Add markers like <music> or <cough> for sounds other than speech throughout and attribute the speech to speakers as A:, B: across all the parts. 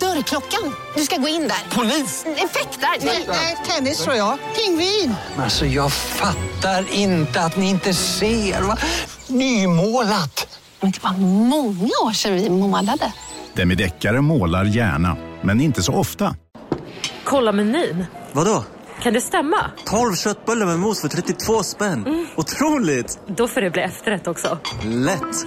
A: Dörrklockan. Du ska gå in där. Polis? Effektar? Nej, tennis tror jag. Pingvin.
B: Alltså jag fattar inte att ni inte ser. Va? Nymålat!
C: Men det var många år sedan vi målade.
D: Demideckare målar gärna, men inte så ofta.
E: Kolla menyn.
F: Vadå?
E: Kan det stämma?
F: 12 köttbullar med mos för 32 spänn. Otroligt!
E: Då får det bli efterrätt också.
F: Lätt!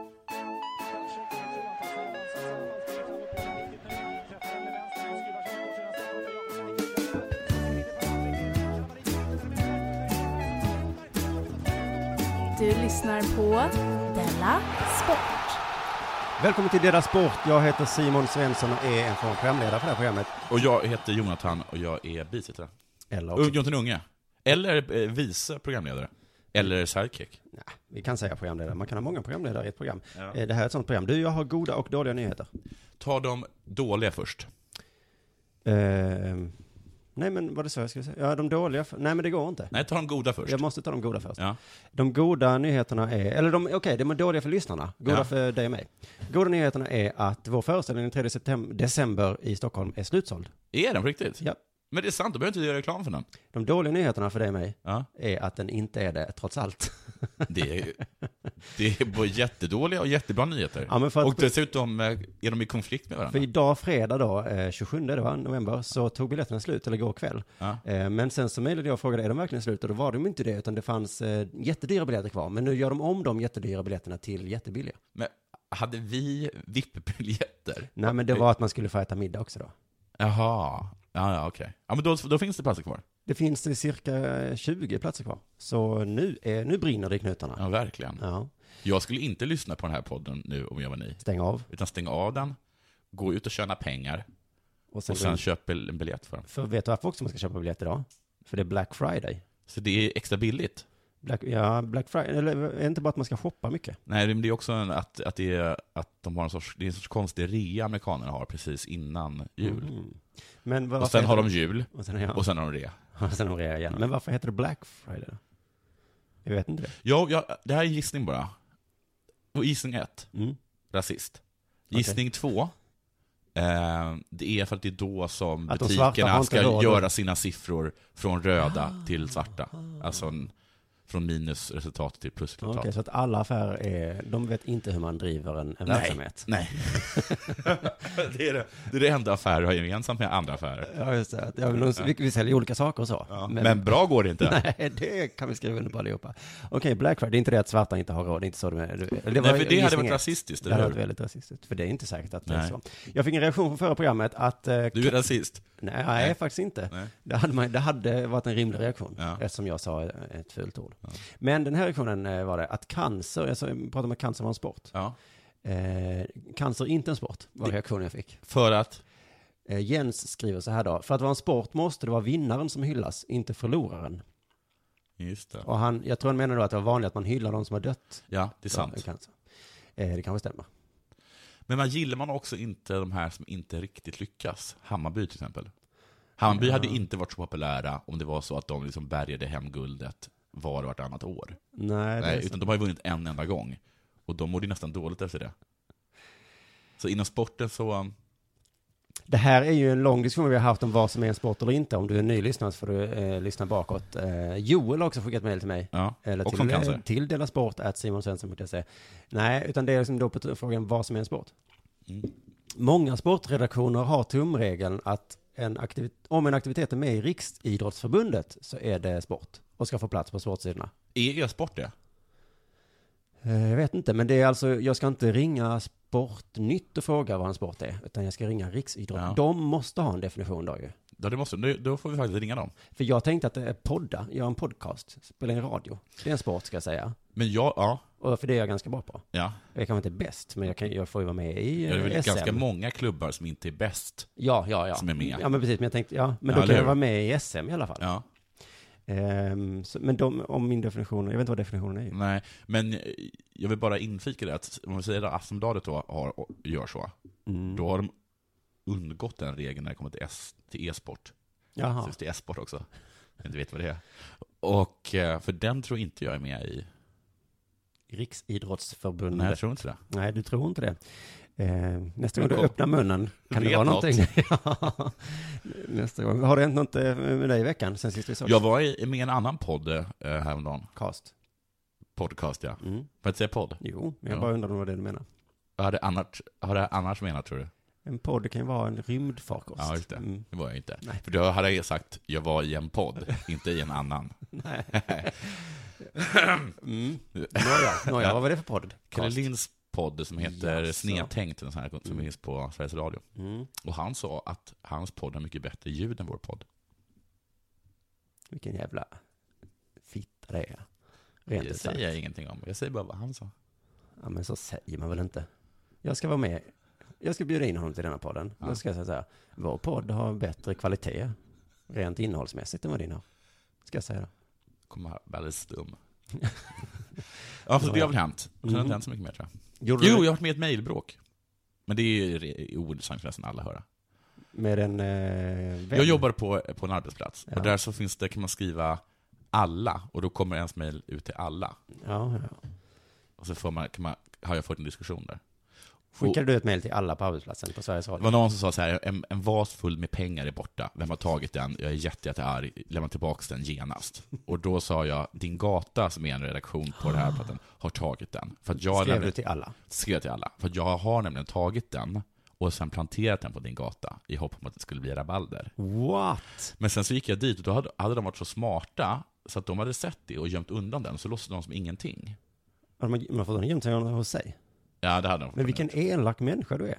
G: Du lyssnar på Della Sport.
H: Välkommen till Dela Sport. Jag heter Simon Svensson och är en programledare för det här programmet.
I: Och jag heter Jonathan och jag är bisittare.
H: Eller
I: Och Jonathan Unge. Eller eh, vice programledare. Eller sidekick.
H: Vi kan säga programledare. Man kan ha många programledare i ett program. Eh, Det här är ett sånt program. Du, jag har goda och dåliga nyheter.
I: Ta de dåliga först.
H: Eh, nej, men var det så jag skulle säga? Ja, de dåliga. f- Nej, men det går inte.
I: Nej, ta de goda först.
H: Jag måste ta de goda först.
I: Ja.
H: De goda nyheterna är, eller de, okej, de är dåliga för lyssnarna, goda
I: Ja.
H: för dig och mig. Goda nyheterna är att vår föreställning den 3 septem- december i Stockholm är slutsåld.
I: Är den på riktigt?
H: Ja.
I: Men det är sant, då behöver inte du göra reklam för den.
H: De dåliga nyheterna för dig och mig
I: Ja.
H: är att den inte är det, trots allt.
I: Det är, det är både jättedåliga och jättebra nyheter.
H: Ja, men för att-
I: Och dessutom eh, är de i konflikt med varandra.
H: För idag, fredag då, eh, 27 det var, november, så tog biljetterna slut, eller igår kväll.
I: Ja.
H: Eh, Men sen så mejlade jag och frågade, är de verkligen slut? Och då var de inte det, utan det fanns eh, jättedyra biljetter kvar. Men nu gör de om de jättedyra biljetterna till jättebilliga.
I: Men hade vi VIP-biljetter?
H: Nej, men det var att man skulle få äta middag också då.
I: Jaha. Ja, ja, okej. Ja, men då, då finns det platser kvar.
H: Det finns eh, cirka 20 platser kvar. Så nu, är, nu brinner det i knutarna.
I: Ja, verkligen.
H: Ja,
I: Jag skulle inte lyssna på den här podden nu om jag var ni.
H: stäng av.
I: Utan stäng av den, gå ut och tjäna pengar
H: Och sen,
I: och sen köp en biljett för den.
H: För vet du varför också man ska köpa biljett idag? För det är Black Friday.
I: Så det är extra billigt.
H: Black, ja, Black Friday, eller är det inte bara att man ska shoppa mycket?
I: Nej, men det är också en, att, att, det är, att de har en sorts, det är en sorts konstig rea amerikanerna har precis innan jul.
H: Mm. Men varför
I: Och sen har
H: heter
I: de jul,
H: det- Och sen, ja.
I: <laughs> och sen har de rea.
H: Och sen orerar jag igen. Men varför heter det Black Friday då? Jag vet inte det.
I: Jo, jag, det här är gissning bara. Och gissning ett,
H: Mm.
I: rasist.
H: Okej.
I: Gissning två, eh, det är för att det är då som
H: Att de svarta har
I: butikerna
H: inte
I: ska
H: råd.
I: göra sina siffror från röda till svarta. Alltså en, från minusresultat till
H: Okej,
I: plusresultat.
H: så att alla affärer är, de vet inte hur man driver en, en verksamhet.
I: Nej. <laughs> det, är det, det är det enda affärer har gemensamt med andra affärer.
H: Ja, just det. Ja, men de, vi, vi säljer olika saker och så.
I: Men, bra går det inte. Nej,
H: <laughs> Nej, det kan vi skriva under på allihopa. Okej, Black Friday, det är inte det att svarta inte har råd, det är inte så det är. Det,
I: för
H: det var
I: det hade
H: gissningen.
I: varit rasistiskt,
H: Det hade
I: eller
H: varit
I: hur?
H: väldigt rasistiskt, för det är inte säkert att det är
I: Nej.
H: så. Jag fick en reaktion från förra programmet att... eh,
I: Du är rasist.
H: Nej,
I: Nej.
H: faktiskt inte.
I: Nej.
H: Det hade, man, det hade varit en rimlig reaktion,
I: Ja.
H: eftersom jag sa ett fult ord. Men den här reaktionen eh, var det, att cancer, jag sa- jag pratade om att cancer var en sport.
I: Ja.
H: Eh, cancer är inte en sport, var reaktionen jag fick.
I: För att,
H: Eh, Jens skriver så här då, för att vara en sport måste det vara vinnaren som hyllas, inte förloraren.
I: just det.
H: Och han, jag tror han menar då att det var vanligt att man hyllar de som har dött.
I: Ja, det är
H: Av
I: sant.
H: cancer. Eh, det kanske stämmer.
I: Men man gillar man också inte de här som inte riktigt lyckas. Hammarby till exempel. Hammarby hade ju inte varit så populära om det var så att de liksom bärgade hem guldet var och vartannat år.
H: Nej, det är
I: Nej,
H: sant.
I: utan de har ju vunnit en enda gång. Och de mådde ju nästan dåligt efter det. Så inom sporten så... um,
H: Det här är ju en lång diskussion vi har haft om vad som är en sport eller inte. Om du är ny lyssnare så får du eh, lyssna bakåt. Eh, Joel har också skickat mejl till mig.
I: Ja,
H: Eller
I: och om
H: till, eh,
I: cancer.
H: till Dela Sport, att simonsvensson.se. Nej, utan det är liksom då på t- frågan vad som är en sport.
I: Mm.
H: Många sportredaktioner har tumregeln att en aktivit- om en aktivitet är med i Riksidrottsförbundet så är det sport och ska få plats på sportsidorna.
I: Är e-sport det?
H: Eh, Jag vet inte, men det är alltså, jag ska inte ringa Sportnytt och fråga vad en sport är, utan jag ska ringa Riksidrott.
I: Ja.
H: De måste ha en definition då ju.
I: Ja, det måste nu- Då får vi faktiskt ringa dem.
H: För jag tänkte att det är podda, göra en podcast, spela in radio. Det är en sport ska jag säga.
I: Men jag, ja.
H: Och för det är jag ganska bra på.
I: Ja.
H: Jag kanske inte är bäst, men jag, kan, jag får ju vara med i
I: Det
H: eh,
I: är väl
H: SM.
I: ganska många klubbar som inte är bäst.
H: Ja, ja, ja.
I: Som är med.
H: Ja, men precis. Men jag tänkte, ja, men
I: Ja, eller
H: då kan jag
I: hur?
H: vara med i SM i alla fall.
I: Ja.
H: Ehm, så, men de, om min definition, jag vet inte vad definitionen är. ju.
I: Nej, men jag vill bara infika det att om vi säger att Aftonbladet då har, gör så,
H: Mm.
I: då har de undgått den regeln när det kommer till S- till e-sport.
H: Jaha.
I: Så just det, e-sport också. Jag inte vet vad det är. Och eh, för den tror inte jag är med
H: Mm.
I: i.
H: Riksidrottsförbundet.
I: Nej, jag tror inte det.
H: Nej, du tror inte det. Ehm, nästa
I: Men
H: gång du
I: kolla.
H: öppnar munnen kan det
I: Vet
H: vara
I: något.
H: någonting. <laughs> Ja. nästa gång. Har det hänt något eh, med dig i veckan sen sist vi sågs?
I: Jag var i, med i en annan podd eh, häromdagen.
H: Cast.
I: Podcast, ja.
H: Mm.
I: Får jag inte säga podd?
H: Jo, men jag
I: Ja.
H: bara undrar om det var det du menar.
I: Vad hade annars, har det annars menat, tror du?
H: En podd kan ju vara en rymdfarkost.
I: Ja, just det.
H: Mm.
I: Det var jag inte.
H: Nej.
I: För då hade jag sagt, jag var i en podd, inte i en annan.
H: Nej. mm. Nåja, nåja,
I: Ja.
H: vad var det för podd?
I: Kalle
H: Cast.
I: Linds podd som heter
H: Jaså.
I: Snedtänkt, en sån här, som finns på Sveriges Radio.
H: Mm.
I: Och han sa att hans podd har mycket bättre ljud än vår podd.
H: Vilken jävla fitta det är. Rent
I: det
H: ut
I: säger
H: sagt.
I: jag ingenting om. Jag säger bara vad han sa.
H: Ja, men så säger man väl inte. Jag ska vara med. Jag ska bjuda in honom till denna podden. Då ska jag säga så här. Vår podd har bättre kvalitet rent innehållsmässigt än vad din har. Ska jag säga då.
I: Kommer här bli alldeles
H: <laughs>
I: stum. ja, så det har väl hänt. Sen har det
H: Mm.
I: inte hänt så mycket mer tror jag.
H: Gjorde
I: jo,
H: du-
I: jag har varit med i ett mejlbråk. Men det är ju re- ointressant för nästan alla att höra.
H: Med en eh, vän.
I: Jag jobbar på, på en arbetsplats.
H: Ja.
I: Och där så finns det, kan man skriva alla. Och då kommer ens mejl ut till alla.
H: Ja, ja.
I: Och så får man, kan man, har jag fått en diskussion där.
H: Skickade du ett mejl till alla på arbetsplatsen på Sveriges
I: Det
H: Radio?
I: var någon som sa så här, en, en vas full med pengar är borta, vem har tagit den? Jag är jätte, jättearg, lämna tillbaka den
H: <laughs>
I: genast. Och då sa jag, din gata som är en redaktion på den
H: <gasps>
I: här plattan har tagit den. För att jag
H: Skrev
I: nämligen-
H: du till alla?
I: Skrev till alla. För att jag har nämligen tagit den och sen planterat den på din gata i hopp om att det skulle bli rabalder.
H: What?
I: Men sen så gick jag dit och då hade, hade de varit så smarta så att de hade sett det och gömt undan den, så låtsades de som ingenting.
H: Har man, man fått en gömd hos sig?
I: Ja, det hade de.
H: Men vilken elak människa du är.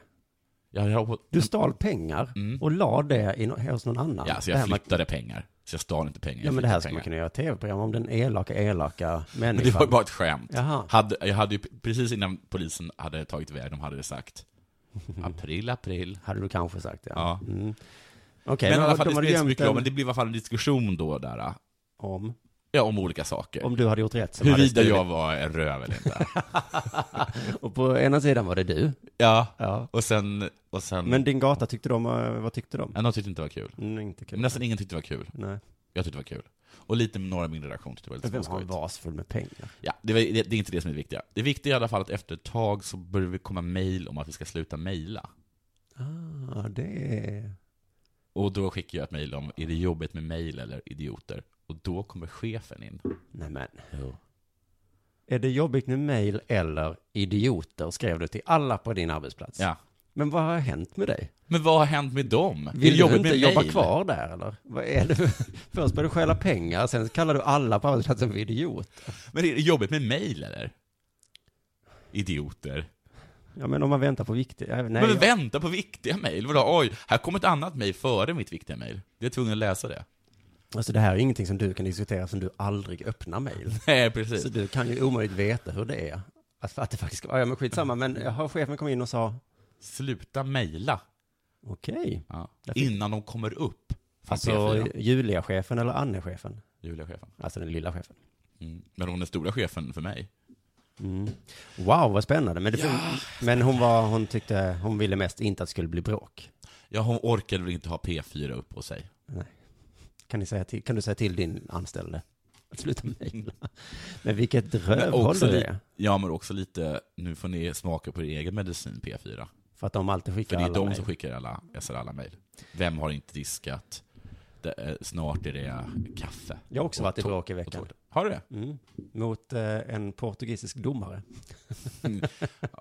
I: Jag, jag,
H: Du stal pengar och la det i, no- hos någon annan.
I: Mm. ja, så
H: Det
I: jag
H: här med-
I: flyttade pengar. Så jag stal inte pengar.
H: Ja,
I: jag
H: men det här
I: flyttade
H: ska man
I: pengar.
H: kunna göra ett tv-program om. Den elaka, elaka människan.
I: Men det var ju bara ett skämt.
H: Liksom. Jaha.
I: Hade, jag hade ju precis innan polisen hade tagit iväg dem hade det
H: <laughs>
I: sagt april, april.
H: Hade du kanske sagt, ja.
I: Ja.
H: Mm. Okej,
I: men i
H: men
I: alla fall, det
H: de hade
I: spelar inte så
H: gömt
I: mycket roll, men
H: den
I: det blev i alla fall en diskussion då där. äh,
H: om,
I: Ja, om olika saker.
H: om du hade gjort rätt. så hade
I: Huruvida
H: det
I: jag var en röv eller
H: <laughs>
I: inte.
H: stulit. Och på ena sidan var det du.
I: ja.
H: Ja.
I: och sen... Och sen
H: Men din gata, tyckte de, eh, vad tyckte de?
I: Ja, de tyckte inte det var kul.
H: Mm, inte kul.
I: Nästan ingen tyckte det var kul.
H: Nej.
I: Jag tyckte det var kul. Och lite några i min redaktion tyckte det var
H: Vem
I: lite
H: har en
I: småskojigt.
H: vas full med pengar?
I: Ja, det, var, det, det är inte det som är det viktiga. Det viktiga är i alla fall att efter ett tag så börjar vi komma mejl om att vi ska sluta mejla.
H: Ah, det är...
I: Och då skickar jag ett mejl om, är det jobbigt med mejl eller idioter? Och då kommer chefen in.
H: Nej men.
I: Jo.
H: Är det jobbigt med mejl eller idioter? Skrev du till alla på din arbetsplats.
I: Ja.
H: Men vad har hänt med dig?
I: Men vad har hänt med dem? Är det
H: Vill du
I: jobbigt
H: inte
I: med
H: jobba
I: mejl?
H: kvar där eller? Vad är det? <laughs> Först börjar du stjäla pengar, sen kallar du alla på arbetsplatsen för idiot.
I: Men är det jobbigt med mejl eller? Idioter.
H: Ja men om man väntar på viktigt. Nej,
I: men
H: jag-
I: vänta på viktiga mejl. Vadå, oj, här kom ett annat mejl före mitt viktiga mejl. Jag är tvungen att läsa
H: <laughs>
I: det.
H: Alltså det här är ingenting som du kan diskutera som du aldrig öppnar mejl.
I: Nej, precis.
H: Så du kan ju omöjligt veta hur det är. Alltså, Att, att det faktiskt ska, ja men skitsamma, men jag har chefen kom in och sa
I: Sluta mejla.
H: okej.
I: Ja.
H: Därför-
I: Innan de kommer upp. från
H: Alltså
I: P4.
H: Julia-chefen eller Anne-chefen?
I: Julia-chefen.
H: Alltså den lilla chefen.
I: Mm. Men hon är stora chefen för mig.
H: Mm. Wow, vad spännande. Men, det, men hon, var, hon tyckte, hon ville mest inte att det skulle bli bråk.
I: Ja, hon orkade väl inte ha P4 upp på sig.
H: Kan, ni säga till, kan du säga till din anställde att sluta mejla? Men vilket
I: Mm. Men
H: rövhål
I: också
H: du
I: li-
H: är.
I: Ja, men också lite, nu får ni smaka på er egen medicin P4.
H: För att de alltid
I: För
H: skickar
I: det är
H: alla
I: de
H: mejl.
I: som skickar alla, SR alla mejl. Vem har inte diskat? Det, eh, snart är det kaffe.
H: Jag har också
I: Och
H: varit i
I: tå-
H: bråk i
I: och
H: veckan.
I: tårta. Har du det?
H: Mm. Mot eh, en portugisisk domare.
I: Mm.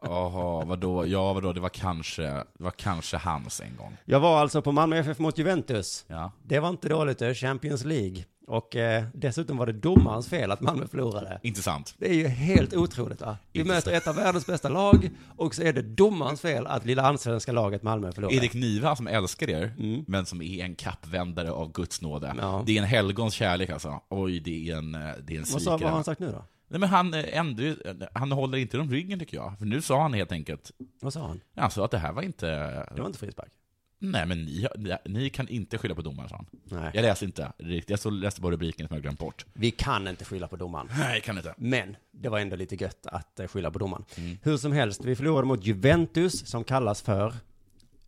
I: Jaha, vadå? Ja, vadå? Det var kanske, det var kanske hans en gång.
H: Jag var alltså på Malmö FF mot Juventus.
I: Ja.
H: Det var inte dåligt, det är Champions League. Och eh, dessutom var det domarens fel att Malmö förlorade.
I: Intressant.
H: Det är ju helt otroligt va? Vi
I: Intressant.
H: möter ett av världens bästa lag och så är det domarens fel att lilla allsvenska laget Malmö förlorar.
I: Erik Niva som älskar er, men som är en kappvändare av Guds nåde.
H: Mm. Ja.
I: Det är en helgons kärlek alltså. Oj, det är en, eh, det är en
H: Vad, sa, vad har
I: svikare.
H: han sagt nu då?
I: Nej, men han, eh, ändå, han håller inte om ryggen tycker jag. För nu sa han helt enkelt,
H: Vad sa han?
I: han sa att det här var inte...
H: Det var inte frispark.
I: Nej, men ni, ni, ni kan inte skylla på domaren, sa han.
H: Nej.
I: Jag läste inte riktigt, jag såg- läste bara rubriken som jag glömt bort.
H: Vi kan inte skylla på domaren.
I: Nej, kan inte.
H: Men det var ändå lite gött att eh, skylla på domaren. Hur som helst, vi förlorade mot Juventus som kallas för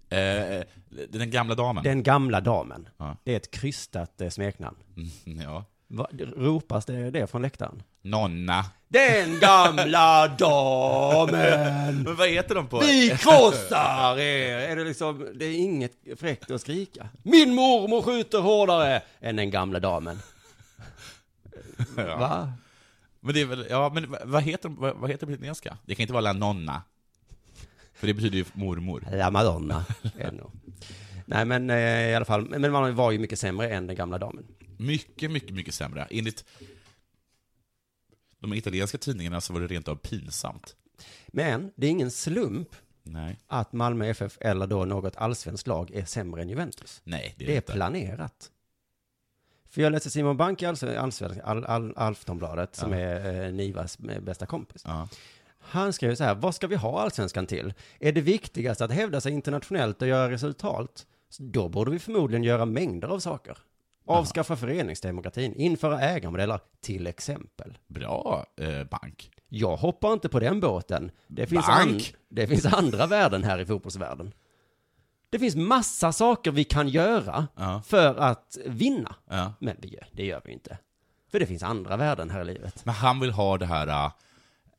I: Eh, den gamla damen.
H: den gamla damen.
I: Ja.
H: Det är ett krystat eh, smeknamn.
I: Mm, ja.
H: Va, ropas det det från läktaren?
I: Nonna.
H: Den gamla damen!
I: Men vad heter de på?
H: Vi krossar er! Är det liksom, det är inget fräckt att skrika. Min mormor skjuter hårdare än den gamla damen.
I: Ja.
H: Va?
I: Men det är väl, ja men v- vad heter, de- vad, vad heter det på italienska? Det kan inte vara la nonna. För det betyder ju mormor.
H: La <laughs> Madonna. är det nog. Nej men eh, i alla fall, men man var ju mycket sämre än den gamla damen.
I: Mycket, mycket, mycket sämre. Enligt de italienska tidningarna så var det rent av pinsamt.
H: Men det är ingen slump
I: Nej,
H: att Malmö FF eller då något allsvenskt lag är sämre än Juventus.
I: nej det är
H: Det är
I: inte.
H: planerat. För jag läste Simon Bank i Allsven- Allsven- All- All- Aftonbladet, som är eh, Nivas eh, bästa kompis.
I: Ja.
H: Han skrev så här, vad ska vi ha allsvenskan till? Är det viktigast att hävda sig internationellt och göra resultat? Så Då borde vi förmodligen göra mängder av saker. Avskaffa föreningsdemokratin, införa ägarmodeller, till exempel.
I: Bra eh, bank.
H: Jag hoppar inte på den båten. Det finns, an-
I: Bank.
H: det finns andra värden här i fotbollsvärlden. Det finns massa saker vi kan göra
I: Ja.
H: för att vinna.
I: Ja.
H: Men det gör, det gör vi inte. För det finns andra värden här i livet.
I: Men han vill ha det här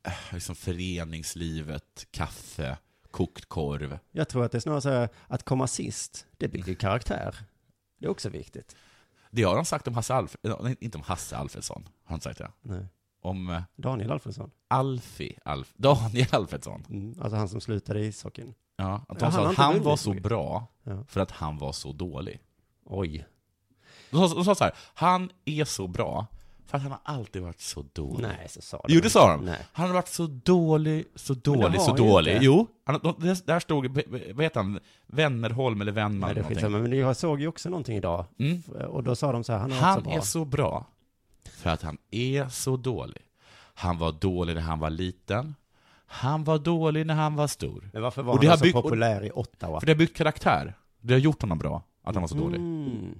I: eh, liksom föreningslivet, kaffe, kokt korv.
H: Jag tror att det är snarare så här, att komma sist, det bygger ju karaktär. Det är också viktigt.
I: Det har han sagt om Hasse Alfredsson, nej inte om Hasse Alfredsson, har han inte sagt det?
H: Nej.
I: Om eh,
H: Daniel Alfredsson,
I: Alfie, Alf, Daniel Alfredsson.
H: mm, alltså han som slutade i ishockeyn.
I: Ja, att
H: Ja,
I: de
H: han
I: sa
H: har
I: att
H: inte
I: han
H: vunnit
I: var
H: så
I: så
H: mycket.
I: bra
H: Ja.
I: för att han var så dålig.
H: Oj.
I: De sa, de sa så här, han är så bra för att han har alltid varit så dålig.
H: Nej, så sa de.
I: Jo, det sa de.
H: Nej.
I: Han har varit så dålig, så
H: har
I: dålig, så
H: han ju
I: dålig.
H: inte.
I: Jo, han, de, det- där stod, vad heter han, Vännerholm eller Vennman
H: Nej, det
I: eller
H: är skitsamma.
I: någonting.
H: Men jag såg ju också någonting idag.
I: Mm.
H: Och då sa de så här, han har varit
I: Han
H: så
I: är så
H: bra.
I: bra för att han är så dålig. Han var dålig när han var liten. Han var dålig när han var stor.
H: Men varför var
I: Och
H: han
I: det har
H: så
I: byggt- och-
H: populär i Ottawa?
I: För det har byggt karaktär. Det har gjort honom bra, att han var så dålig.
H: Mm.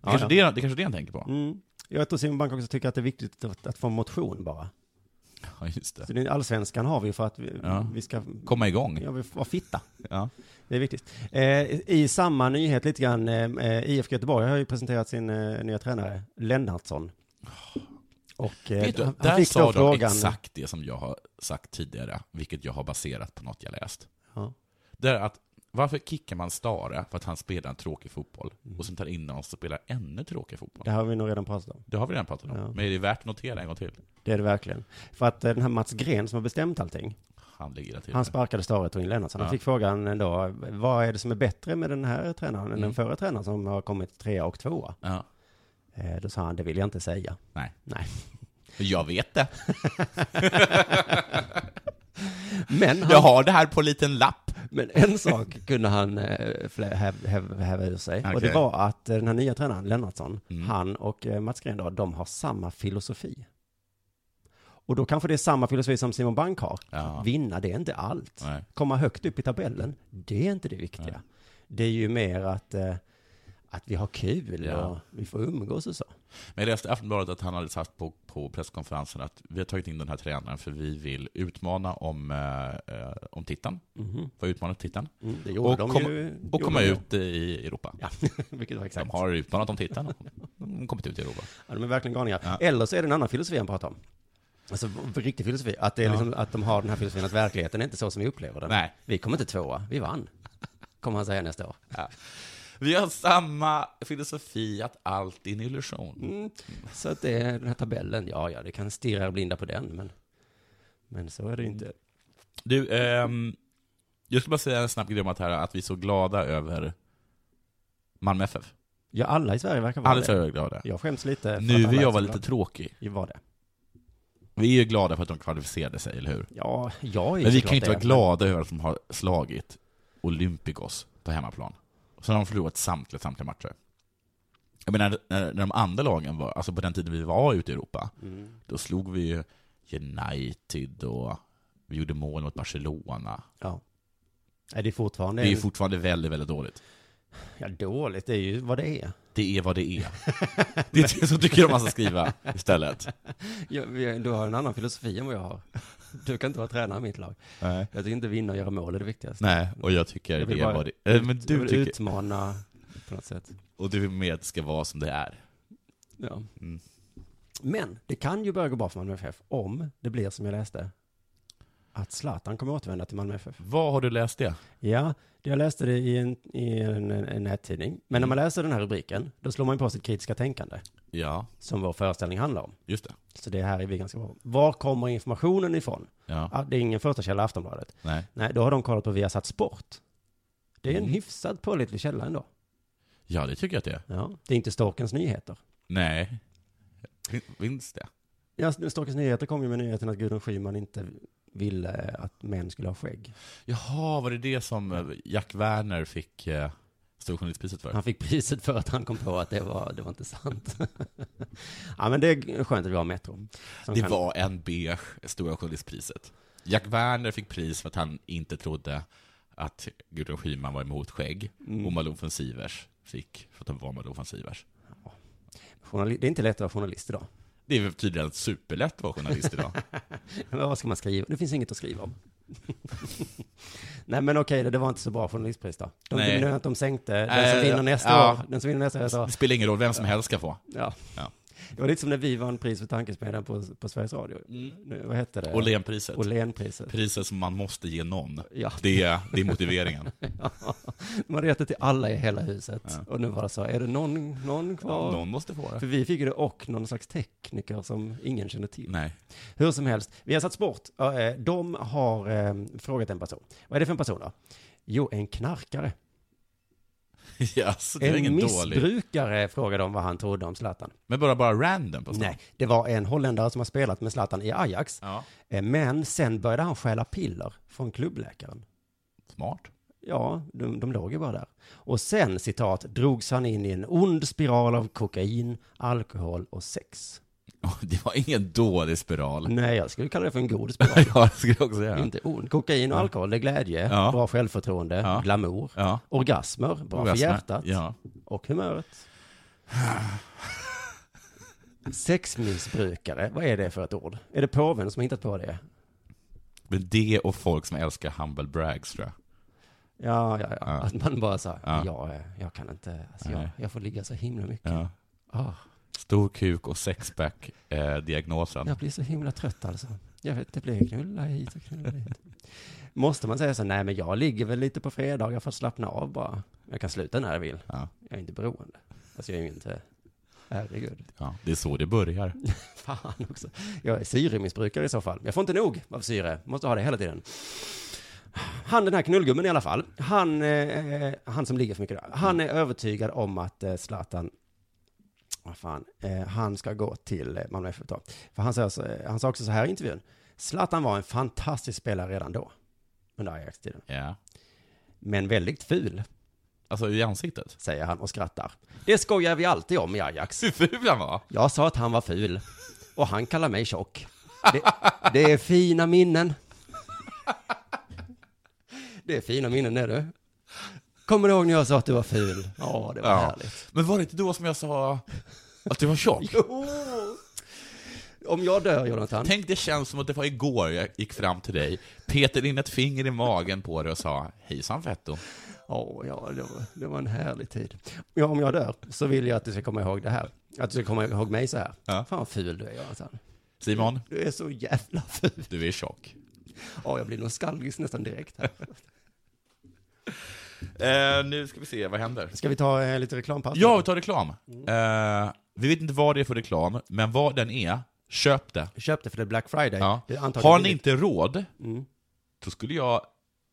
I: Det kanske, Det, det kanske är det han tänker på.
H: Mm. Jag tror Simon Bank också tycker att det är viktigt att, att få motion bara.
I: Ja, just det.
H: Så den allsvenskan har vi för att vi,
I: Ja.
H: vi ska
I: Komma igång.
H: ja, vi får vara fitta.
I: Ja.
H: Det är viktigt. Eh, I samma nyhet lite grann, eh, eh, IFK Göteborg har ju presenterat sin eh, nya tränare, Lennartsson. Och eh,
I: Oh. Vet du,
H: han,
I: där
H: han fick
I: sa
H: då
I: de
H: frågan...
I: exakt det som jag har sagt tidigare, vilket jag har baserat på något jag läst.
H: Ja.
I: Det är att varför kickar man Stare för att han spelar en tråkig fotboll
H: Mm.
I: och sen tar in någon som spelar ännu tråkigare fotboll?
H: Det har vi nog redan pratat om.
I: Det har vi redan pratat om,
H: Ja.
I: men är det värt att notera en gång till?
H: Det är det verkligen. För att eh, den här Mats Gren som har bestämt allting,
I: Han ligger där till.
H: han sparkade Stare och tog in Lennartsson. Han
I: Ja.
H: fick frågan ändå, vad är det som är bättre med den här tränaren än den förra tränaren som har kommit trea och tvåa?
I: Mm. ja.
H: Eh, Då sa han, det vill jag inte säga.
I: Nej,
H: Nej. <laughs>
I: Men jag vet det.
H: Men,
I: Jag
H: han,
I: har det här på en liten lapp.
H: men en sak kunde han eh, flä- häv- häv- häva ur sig. Och
I: Okej.
H: det var att eh, den här nya tränaren, Lennartsson,
I: Mm.
H: han och eh, Mats Green då, de har samma filosofi. Och då kanske det är samma filosofi som Simon Bank har.
I: Ja.
H: Vinna, det är inte allt.
I: Nej.
H: Komma högt upp i tabellen, det är inte det viktiga.
I: Nej.
H: Det är ju mer att, eh, att vi har kul
I: Ja.
H: och vi får umgås och så.
I: Men jag läste i Aftonbladet att han hade sagt på, på presskonferensen att vi har tagit in den här tränaren för vi vill utmana om, eh, eh, om titeln.
H: Mhm.
I: Vad utmanar titeln?
H: Mm, det gjorde
I: Och,
H: de
I: kom,
H: ju.
I: och
H: gjorde
I: komma
H: de ju.
I: ut i Europa.
H: Ja, <laughs> vilket var exakt.
I: De har utmanat om titeln och de har kommit ut i Europa.
H: Ja, de är verkligen galningar.
I: Ja.
H: Eller så är det en annan filosofi han pratar om. Alltså v- riktig filosofi, att, det är liksom, att de har den här filosofin att verkligheten är inte så som vi upplever den.
I: Nej. <laughs>
H: Vi kommer inte tvåa, vi vann. Kommer han säga nästa år.
I: Ja. Vi har samma filosofi att allt är en illusion.
H: Mm. Så att det är den här tabellen, ja, ja, det kan stirra blinda på den, men, men så är det ju inte.
I: Du, ehm, jag skulle bara säga en snabb grej om att, här, att vi är så glada över Malmö FF.
H: Ja, alla i Sverige verkar vara
I: Alla i
H: det.
I: Sverige är glada.
H: Jag skäms lite. för att
I: Nu
H: alla
I: vill
H: är
I: jag
H: så
I: vara
H: glada.
I: lite tråkig.
H: Jag var det.
I: Vi är ju glada för att de kvalificerade sig, eller hur?
H: Ja, jag är
I: Men vi
H: såklart
I: kan ju inte
H: det,
I: vara glada över att de har slagit Olympikos på hemmaplan. Sen har de förlorat samtliga, samtliga matcher. Jag menar, när, när de andra lagen var, alltså på den tiden vi var ute i Europa,
H: Mm.
I: då slog vi ju United och vi gjorde mål mot Barcelona.
H: Ja. Nej, det är fortfarande...
I: Det är ju fortfarande väldigt, väldigt dåligt.
H: Ja, dåligt. Det är ju vad det är.
I: Det är vad det
H: <laughs>
I: är. Det är det som tycker jag man ska skriva istället.
H: Ja, vi- du har en annan filosofi än vad jag har. Du kan inte vara tränare i mitt lag.
I: Nej.
H: Jag tycker inte vinna och göra mål är det viktigaste.
I: Nej, och jag tycker
H: Jag vill
I: det är
H: bara
I: vad det är. Men
H: jag
I: du
H: vill
I: tycker...
H: utmana på något sätt.
I: Och du vill med att det ska vara som det är.
H: Ja.
I: Mm.
H: Men det kan ju börja gå bra för Malmö FF om det blir som jag läste. Att Zlatan kommer återvända till Malmö FF.
I: Vad har du läst det?
H: Ja, det- jag läste det i en, i en, en nättidning. Men när man
I: Mm.
H: läser den här rubriken, då slår man ju på sitt kritiska tänkande.
I: Ja,
H: Som vår föreställning handlar om.
I: just det.
H: Så det här är vi ganska bra. Var kommer informationen ifrån?
I: Ja,
H: Ah, Det är ingen första källa Aftonbladet.
I: nej.
H: Nej, då har de kollat på Viasat Sport. Det är en
I: Mm.
H: hyfsad pålitlig källa ändå.
I: Ja, det tycker jag att det är.
H: Ja, det är inte Storkens Nyheter.
I: Nej. Finns det?
H: Ja, Storkens Nyheter kom ju med nyheten att Gudrun Schyman inte ville att män skulle ha skägg.
I: Jaha, var det det som eh, Jack Werner fick eh, Storjournalistpriset för?
H: Han fick priset för att han kom på att det var, det var inte sant. <laughs> ja, men det är skönt att vi har Metro. som
I: Det
H: kan-
I: var en beige Stora Journalistpriset. Jack Werner fick pris för att han inte trodde att Gudrun Schyman var emot skägg.
H: Mm.
I: Och Malou von Sivers fick för att han var Malou von Sivers.
H: Journali- det är inte lätt att vara journalist idag.
I: Det är väl tydligen superlätt att vara journalist
H: <laughs>
I: idag.
H: Men vad ska man skriva? Det finns inget att skriva om. <laughs> Nej men okej, det- det var inte så bra journalistpris då. De,
I: Nej.
H: Nej. de sänkte, den som
I: Äh,
H: vinner nästa
I: ja.
H: år, den som vinner nästa år,
I: <laughs>
H: så,
I: Det spelar ingen roll, vem som helst ska få.
H: ja.
I: Ja.
H: Det var lite som när vi vann pris för tankesmedjan på, på Sveriges Radio.
I: Mm.
H: Nu, vad hette det?
I: Åhlénpriset.
H: Åhlénpriset.
I: Priset som man måste ge någon.
H: Ja. <laughs>
I: Det, är, det är motiveringen.
H: Man retade till alla i hela huset. Och nu var det så, är det någon, någon kvar?
I: Någon måste få
H: För
I: det.
H: vi fick ju det och någon slags tekniker som ingen kände till.
I: Nej.
H: Hur som helst, vi har satt sport. Ja, eh, De har eh, frågat en person. Vad är det för en person då? Jo, en knarkare.
I: <laughs> Jaså, det var
H: En
I: ingen dålig.
H: missbrukare frågade de vad han trodde om Zlatan.
I: Men bara, bara random på stan.
H: Nej, det var en holländare som har spelat med Zlatan i Ajax.
I: Ja.
H: Eh, Men sen började han stjäla piller från klubbläkaren.
I: Smart. <laughs>
H: Ja, de, de låg ju bara där. Och sen, citat, drogs han in i en ond spiral av kokain, alkohol och sex.
I: Åh, Det var ingen dålig spiral.
H: Nej, jag skulle kalla det för en god spiral.
I: <laughs> Ja, det skulle jag också säga.
H: Mm. Inte ond. Kokain och alkohol, det är glädje,
I: Ja.
H: bra självförtroende,
I: Ja.
H: glamour,
I: Ja.
H: orgasmer, bra för
I: Orgasmer.
H: hjärtat
I: Ja.
H: och humöret. Sexmissbrukare, vad är det för ett ord? Är det påven som har hittat på det?
I: Men det och folk som älskar humble brags tror jag.
H: Ja, ja, ja.
I: Ja.
H: Att man bara så här,
I: Ja.
H: jag, eh, jag kan inte, alltså jag,
I: Nej.
H: jag får ligga så himla mycket.
I: Ja.
H: Ah,
I: Stor kuk och sexpack, eh, diagnosen.
H: jag blir så himla trött alltså. Jag vet, det blir knulla hit och knulla dit. Måste man säga så, nej men jag ligger väl lite på fredagar för att slappna av bara. Jag kan sluta när jag vill.
I: Ja.
H: Jag är inte beroende. Alltså jag är ju inte, herregud.
I: Ja. Det är så det börjar.
H: Fan också. Jag är syremissbrukare i så fall. Jag får inte nog av syre. Måste ha det hela tiden. Han den här knullgummen i alla fall. Han, eh, han som ligger för mycket där. Han är övertygad om att eh, Zlatan, vad fan, eh, han ska gå till eh, Malmö FF då. För han, säger så, eh, han sa också så här i intervjun. Zlatan var en fantastisk spelare redan då. Under Ajax-tiden.
I: Ja.
H: Men väldigt ful,
I: Alltså i ansiktet. <laughs>
H: säger han och skrattar. Det skojar vi alltid om i Ajax.
I: Hur ful han var!
H: Jag sa att han var ful och han kallar mig tjock. Det, det är fina minnen. Det är fina minnen, är du. Kommer du ihåg när jag sa att du var ful? Ja, det var
I: Ja.
H: härligt.
I: Men var det inte då som jag sa att du var tjock?
H: Jo! Om jag dör, Jonathan.
I: Tänk, det känns som att det var igår jag gick fram till dig, petade in ett finger i magen på dig och sa hejsan fetto.
H: Åh, ja, det var, det var en härlig tid. Ja, om jag dör så vill jag att du ska komma ihåg det här. Att du ska komma ihåg mig så här.
I: Ja.
H: Fan vad ful du är, Jonathan.
I: Simon,
H: Du är så jävla ful.
I: du är tjock.
H: Ja, jag blir nostalgisk nästan direkt här.
I: Eh, nu ska vi se, vad händer?
H: Ska vi ta eh, lite reklampaus?
I: Ja, vi tar reklam. Eh, vi vet inte vad det är för reklam, men vad den är, köp det.
H: Köp det för det är Black Friday.
I: Ja.
H: Det är antagligen
I: Har ni
H: billigt.
I: inte råd,
H: Mm.
I: då skulle jag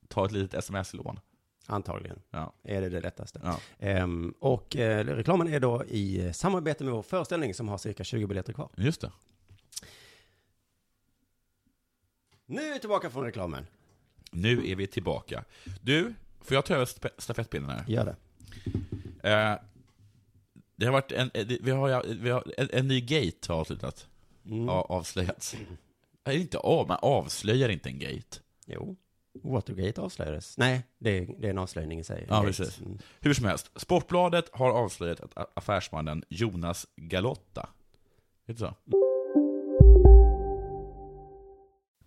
I: ta ett litet sms-lån.
H: Antagligen.
I: Ja.
H: Är det det lättaste.
I: Ja.
H: Ehm, och eh, reklamen är då i eh, samarbete med vår föreställning som har cirka 20 biljetter kvar.
I: Just det.
H: Nu är vi tillbaka från reklamen.
I: Nu är vi tillbaka. Du, får jag ta över spe- stafettpinnen här?
H: Gör det.
I: Eh, det har varit en, eh, det- vi har, vi har, en, en ny gate har avslutat.
H: Mm.
I: Ja, avslöjats. Nej, inte av, man avslöjar inte en gate.
H: Jo. Watergate avslöjades. Nej, det är, det är en avslöjning i sig.
I: Ja,
H: Gate.
I: precis.
H: Mm.
I: Hur som helst, Sportbladet har avslöjat att a- affärsmannen Jonas Galotta, heter det så?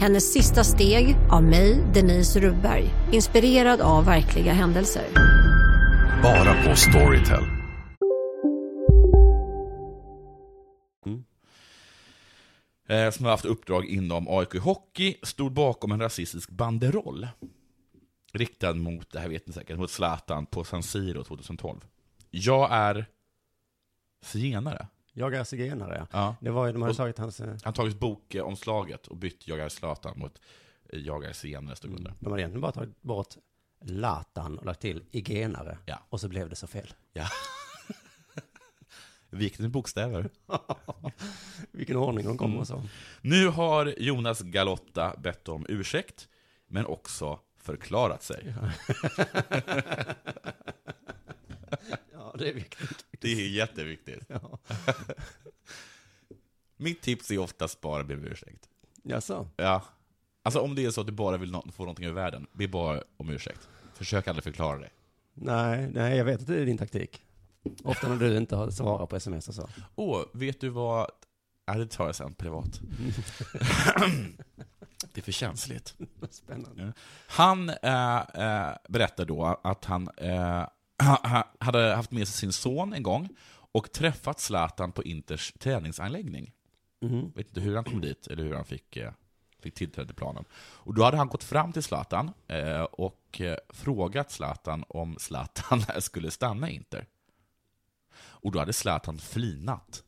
J: Hennes sista steg av mig, Denise Rubberg. Inspirerad av verkliga händelser.
K: Bara på Storytel.
I: Eh, som har haft uppdrag inom AIK Hockey, stod bakom en rasistisk banderoll. Riktad mot, det här vet ni säkert, mot Zlatan på San Siro 2012. Jag är zigenare.
H: Jag är zigenare, ja.
I: Ja.
H: Det var ju, de hade
I: Och-
H: tagit hans... eh,
I: Han har tagit bokomslaget och bytt Jag är Zlatan mot eh, Jag är zigenare, stod under.
H: De hade egentligen bara tagit bort Latan och lagt till igenare.
I: Ja.
H: Och så blev det så fel.
I: Ja. Vikten i bokstäver.
H: Vilken ordning de
I: Mm.
H: kommer och så.
I: Nu har Jonas Galotta bett om ursäkt, men också förklarat sig.
H: Ja, det är viktigt.
I: Det är jätteviktigt.
H: Ja.
I: <laughs> Mitt tips är oftast bara be om ursäkt.
H: Jaså?
I: Ja. Alltså om det är så att du bara vill nå- få någonting ur världen, be bara om ursäkt. Försök aldrig förklara dig.
H: Nej, nej, jag vet att det är din taktik. Ofta när du inte har- svarar på sms och så. <laughs>
I: Åh, vet du vad... Ja, det tar jag sen privat. det är för känsligt.
H: Spännande.
I: Ja. Han eh, eh, berättar då att han eh, <clears throat> ha- hade haft med sig sin son en gång och träffat Zlatan på Inters träningsanläggning.
H: Mhm.
I: Vet inte hur han kom dit eller hur han fick, eh, fick tillträde till planen. Och då hade han gått fram till Zlatan eh, och eh, frågat Zlatan om Zlatan <laughs> skulle stanna i Inter. Och då hade Zlatan flinat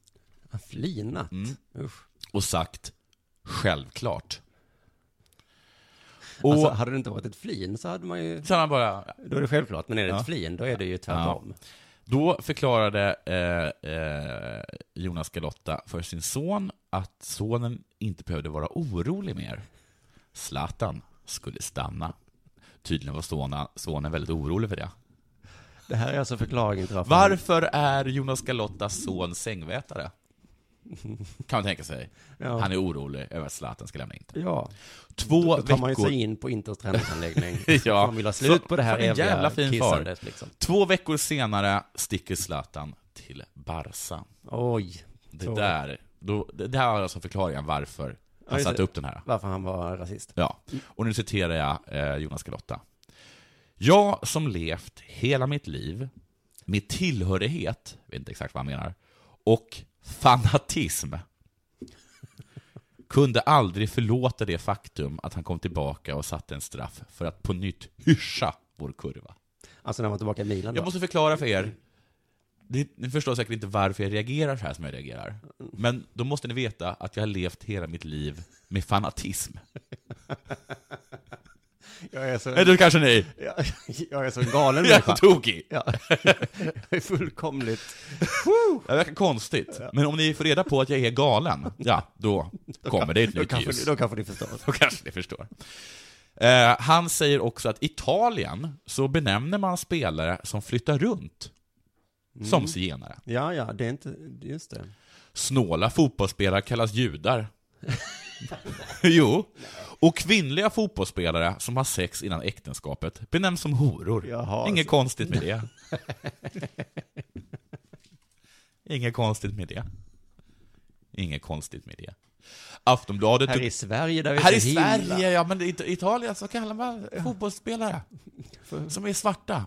H: Han flinat.
I: Mm.
H: Usch.
I: och sagt självklart.
H: Och alltså, hade det inte varit ett flin så hade man ju...
I: Sen han bara,
H: Då är det självklart, men är det
I: Ja.
H: ett flin då är det ju tvärtom.
I: Då förklarade eh, eh, Jonas Galotta för sin son att sonen inte behövde vara orolig mer. Zlatan skulle stanna. Tydligen var sonen, sonen väldigt orolig för det.
H: Det här är alltså förklaringen till varför...
I: Varför är Jonas Galottas son sängvätare? Kan man tänka sig.
H: Ja.
I: Han är orolig över att Zlatan ska lämna in.
H: Ja.
I: Två
H: då, då tar man ju
I: veckor- <laughs>
H: sig in på Inters träningsanläggning.
I: ja.
H: Man vill ha slut på det här
I: Som en
H: eviga
I: jävla fin far.
H: kissandet, liksom.
I: Två veckor senare sticker Zlatan till Barca.
H: Oj.
I: Det
H: Så-
I: där, då, det det här var alltså förklaringen varför han
H: just
I: satte
H: det. Mm.
I: upp den här.
H: Varför han var rasist.
I: Ja, och nu citerar jag eh, Jonas Galotta. Jag som levt hela mitt liv med tillhörighet, jag vet inte exakt vad han menar, och fanatism kunde aldrig förlåta det faktum att han kom tillbaka och satte en straff för att på nytt hyscha vår kurva.
H: Alltså när man var tillbaka i Milan då.
I: Jag måste förklara för er. Ni, ni förstår säkert inte varför jag reagerar så här som jag reagerar. Men då måste ni veta att jag har levt hela mitt liv med <laughs> fanatism.
H: Jag är så...
I: Eller kanske ni?
H: <laughs> Jag, jag är så
I: <laughs>
H: galen
I: Jag är tokig.
H: Ja. <laughs> Jag är fullkomligt...
I: Det verkar konstigt. Men om ni får reda på att jag är galen, ja, då kommer det ett
H: Då
I: nytt
H: kanske,
I: ljus.
H: då kanske ni förstår.
I: Då kanske ni förstår. Eh, han säger också att Italien så benämner man spelare som flyttar runt som
H: Mm.
I: zigenare.
H: Ja, ja, det är inte, just det.
I: Snåla fotbollsspelare kallas judar. <laughs> jo. Och kvinnliga fotbollsspelare som har sex innan äktenskapet benämns som horor.
H: Jaha.
I: Inget konstigt med det. Inget konstigt med det. Inget konstigt med det. Aftonbladet...
H: Här i Sverige där vi är
I: Här
H: så
I: i
H: himla-
I: Sverige, ja men i Italien så kallar man fotbollsspelare som är svarta.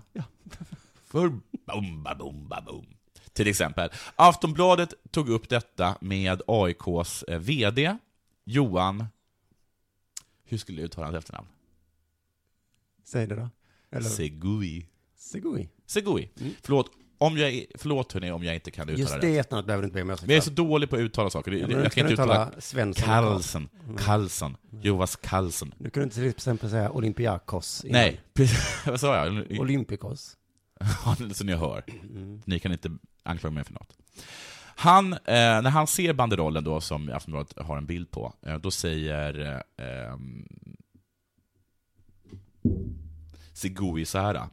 I: För bomba, bomba, bom. Till exempel. Aftonbladet tog upp detta med AIKs eh, VD, Johan... Hur skulle du uttala hans efternamn?
H: Säg det då. Eller-
I: Segui.
H: Segui.
I: Segui. Förlåt, om jag, är- förlåt hörni, om jag inte kan uttala
H: Mm. Just det efternamnet behöver du inte be om ursäkt
I: Men jag är
H: för.
I: så dålig på att uttala saker.
H: Ja, men
I: jag
H: du
I: kan
H: kan
I: inte uttala...
H: uttala Svensson.
I: Carlsen.
H: Mm.
I: Carlsen. Joas Carlsen.
H: Du kunde inte till exempel säga Olympiakos. innan.
I: Nej, precis. <laughs> Vad sa jag?
H: Olympikos.
I: Ja, <laughs> så ni hör. Ni kan inte anklaga mig för något. Han, eh, när han ser banderollen då, som Aftonbladet har en bild på, eh, då säger eh, ehm, Segui så här.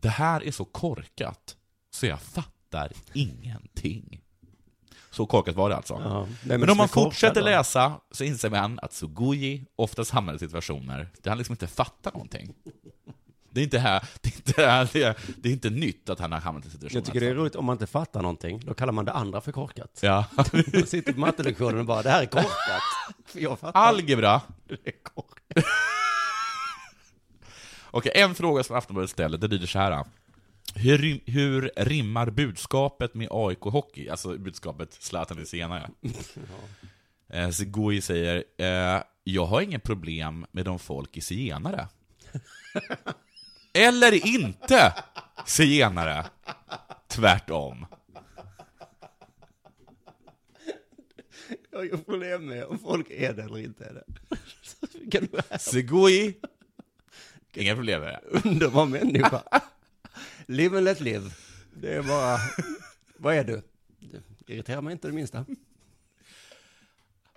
I: Det här är så korkat, så jag fattar ingenting. Så korkat var det alltså.
H: Ja, det är
I: men,
H: men som
I: om man
H: är korkat
I: fortsätter
H: då.
I: läsa så inser man att Sugui oftast hamnar i situationer där han liksom inte fattar någonting. Det är inte, här, det är inte, här, det är, det är inte nytt att han har hamnat i situationer.
H: Jag tycker det är roligt om man inte fattar någonting, då kallar man det andra för korkat.
I: Ja.
H: <laughs>
I: <laughs>
H: Man sitter på mattelektionen och bara, det här är korkat. <laughs> För jag fattar.
I: Algebra.
H: Det är korkat. <laughs>
I: Okej, en fråga som Aftonbladet ställer, det lyder så här. Hur, rim- hur rimmar budskapet med AIK Hockey? Alltså budskapet Zlatan är senare. Eh, Segui säger, eh, jag har inget problem med de folk i zigenare. Eller inte zigenare. Tvärtom.
H: Jag har ju problem med om folk är det eller inte är det. <laughs> Så Kan du
I: Segui. Inga problem med det.
H: Underbar människa. Live and let live. Det är bara, vad är du? Det irriterar mig inte det minsta.